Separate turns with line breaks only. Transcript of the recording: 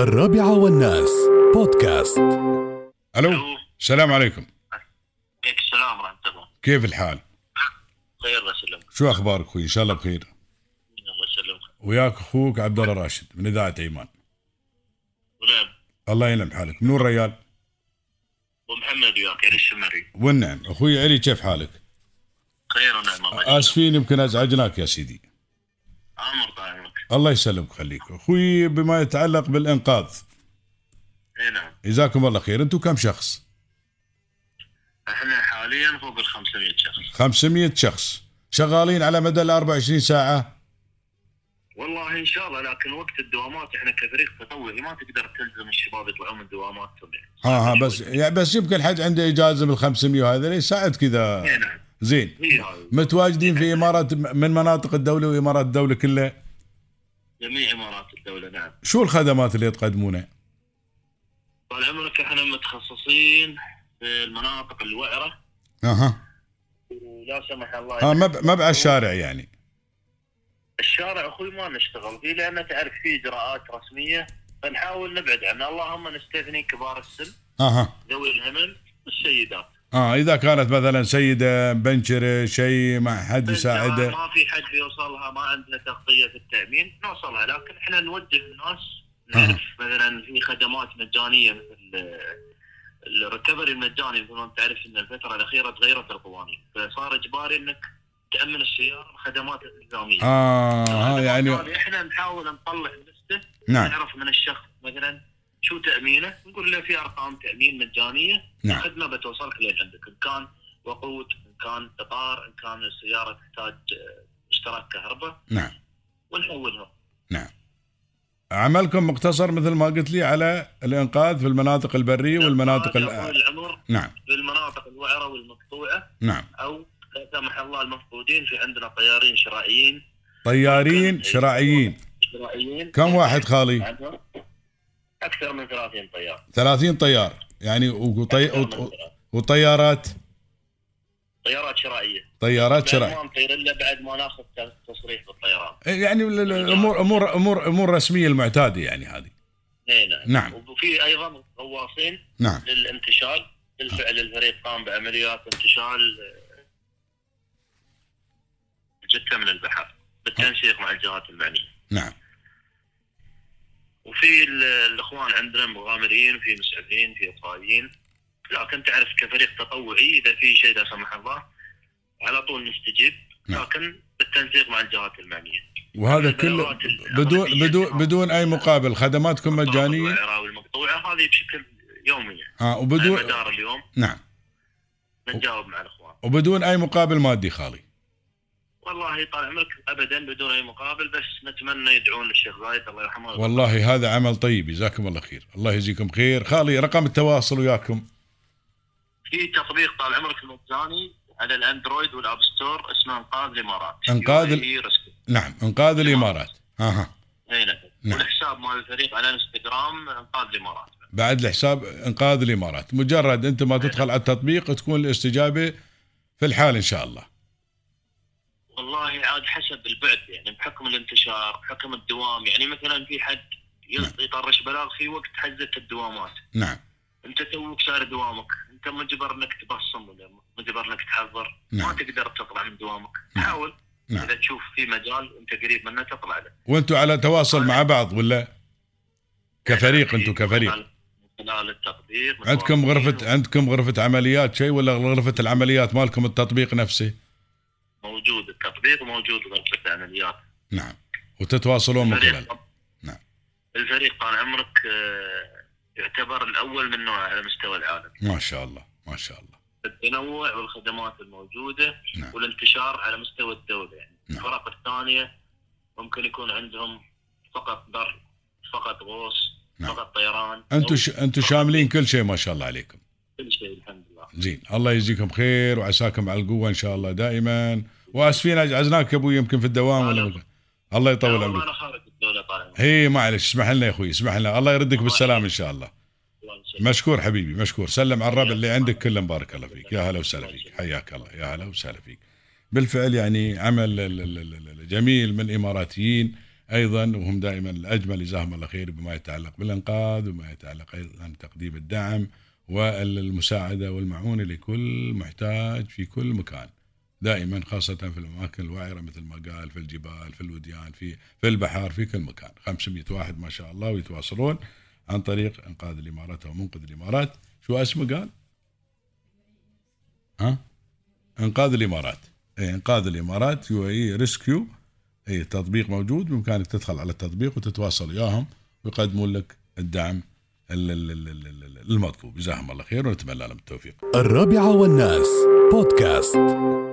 الرابعة والناس بودكاست
الو
ألو.
السلام عليكم
عليك السلام ورحمة الله
كيف الحال
خير الله يسلمك
شو اخبارك اخوي ان شاء الله بخير
الله يسلمك
وياك اخوك عبد الله راشد من اذاعه ايمان
ونعم
الله ينعم حالك نور ريال
ابو محمد وياك علي الشمري
والنعم اخوي علي كيف حالك
خير ونعم الله يسلمك
اسفين يمكن ازعجناك يا سيدي
عمر طال عمرك
الله يسلمك خليك اخوي بما يتعلق بالانقاذ
اي نعم
جزاكم الله خير انتم كم شخص
احنا حاليا فوق ال 500 شخص
500 شخص شغالين على مدى ال 24 ساعه
والله ان شاء الله لكن وقت الدوامات احنا كفريق تطوعي ما تقدر تلزم الشباب يطلعون من دواماتهم يعني
ها ها بس يعني بس يمكن حد عنده اجازه بال 500 وهذا اللي يساعد كذا
اي نعم
زين
هي هاي
متواجدين في امارات من مناطق الدوله وامارات الدوله كلها
جميع امارات الدولة نعم
شو الخدمات اللي تقدمونها؟
طال عمرك احنا متخصصين في المناطق الوعرة
اها
ولا سمح الله
ها ما ب- ما بعد الشارع يعني
الشارع اخوي ما نشتغل فيه لان تعرف في اجراءات رسميه فنحاول نبعد عنه اللهم نستثني كبار السن
اها
ذوي الهمم والسيدات
اه اذا كانت مثلا سيده بنشر شيء ما حد
بنتها
يساعده
ما في حد يوصلها ما عندنا تغطيه في التامين نوصلها لكن احنا نوجه الناس نعرف مثلا في خدمات مجانيه مثل الريكفري المجاني مثل ما انت تعرف ان الفتره الاخيره تغيرت القوانين فصار اجباري انك تامن السياره بخدمات التزاميه
اه ها يعني
احنا نحاول نطلع لسته
نعم
نعرف من الشخص مثلا شو تامينه نقول له في ارقام تامين مجانيه
نعم.
الخدمه بتوصلك لين عندك ان كان وقود ان كان اطار ان كان السياره تحتاج آه، اشتراك كهرباء
نعم
ونحولها
نعم عملكم مقتصر مثل ما قلت لي على الانقاذ في المناطق البريه والمناطق
هذا
ال-
طول العمر
نعم
في المناطق الوعره والمقطوعه
نعم
او لا سمح الله المفقودين في عندنا طيارين شرائيين
طيارين شراعيين
شرائيين
كم واحد خالي؟
عندنا اكثر من 30 طيار
30 طيار يعني وطي...
أكثر من
وط-
30.
وطيارات
طيارات شرائيه
طيارات شرعيه
ما نطير الا بعد ما ناخذ تصريح بالطيران
يعني ال- ال- الامور امور امور امور رسميه المعتاده يعني هذه
اي نعم
نعم.
وفي ايضا غواصين
نعم
للانتشال بالفعل الفريق قام بعمليات انتشال آه، جثه من البحر بالتنسيق مع الجهات المعنيه
نعم
وفي ال- الاخوان عندنا مغامرين في مسعفين في اطفائيين لكن تعرف كفريق تطوعي اذا في شيء لا سمح الله على طول نستجيب
نعم.
لكن بالتنسيق مع الجهات المعنيه
وهذا كله بدون بدون بدون اي مقابل خدماتكم مجانيه
الوعرة والمقطوعه هذه بشكل يومي
ها
على
وبدون
مدار اليوم
نعم
نتجاوب مع الاخوان
وبدون اي مقابل مادي خالي
والله طال عمرك ابدا بدون اي مقابل بس نتمنى يدعون للشيخ زايد الله يرحمه
والله هذا عمل طيب جزاكم الله خير الله يجزيكم خير خالي رقم التواصل وياكم
في تطبيق طال عمرك مجاني على الاندرويد والاب ستور اسمه انقاذ الامارات
إنقاذ ال-
ال...
نعم انقاذ الامارات اها نعم.
نعم والحساب مال الفريق على انستغرام انقاذ الامارات
بعد الحساب انقاذ الامارات مجرد انت ما تدخل على التطبيق تكون الاستجابه في الحال ان شاء الله
والله عاد حسب البعد يعني بحكم الانتشار بحكم الدوام يعني مثلا في حد يط- يطرش بلاغ في وقت حزه الدوامات
نعم
انت توك سار دوامك انت مجبر انك تبصم ولا مجبر انك تحضر
نعم.
ما تقدر تطلع من دوامك
نعم.
حاول
نعم.
اذا تشوف في مجال انت قريب منه تطلع له
وانتم على تواصل مع بعض ولا كفريق انتم كفريق
يعني من خلال التقدير
عندكم غرفة عندكم غرفة عمليات شيء ولا غرفة العمليات مالكم التطبيق نفسه؟
موجود التطبيق وموجود غرفه العمليات
نعم وتتواصلون من خلال
الفريق-
نعم.
الفريق طال عمرك آه، يعتبر الاول من نوعه على مستوى العالم
ما شاء الله ما شاء الله
التنوع والخدمات الموجوده
نعم.
والانتشار على مستوى الدوله يعني
نعم.
الفرق الثانيه ممكن يكون عندهم فقط بر فقط غوص
نعم.
فقط طيران
انتم
أو
ش... انتم شاملين كل شيء ما شاء الله عليكم
كل شيء الحمد لله
زين الله يجزيكم خير وعساكم على القوة ان شاء الله دائما واسفين عزناك يا ابوي يمكن في الدوام ولا ممكن. الله يطول
لا والله
عمرك
انا خارج الدوله طال عمرك
هي معلش اسمح لنا يا اخوي اسمح لنا الله يردك بالسلام ان شاء الله
الله يسلمك.
مشكور حبيبي مشكور سلم على الربع اللي عندك كله مبارك الله فيك يا هلا وسهلا فيك حياك الله يا هلا وسهلا فيك بالفعل يعني عمل ال- ال- ال- ال- جميل من الاماراتيين ايضا وهم دائما الاجمل جزاهم الله خير بما يتعلق بالانقاذ وما يتعلق ايضا تقديم الدعم والمساعده والمعونه لكل محتاج في كل مكان دائما خاصه في الاماكن الوعره مثل ما قال في الجبال في الوديان في في البحار في كل مكان 500 واحد ما شاء الله ويتواصلون عن طريق انقاذ الامارات او منقذ الامارات شو اسمه قال؟ ها؟ انقاذ الامارات اي انقاذ الامارات يو اي ريسكيو اي تطبيق موجود بامكانك تدخل على التطبيق وتتواصل وياهم ويقدمون لك الدعم ال- ال- ال- ال- ال- ال- المطلوب جزاهم الله خير ونتمنى لهم التوفيق
الرابعة والناس بودكاست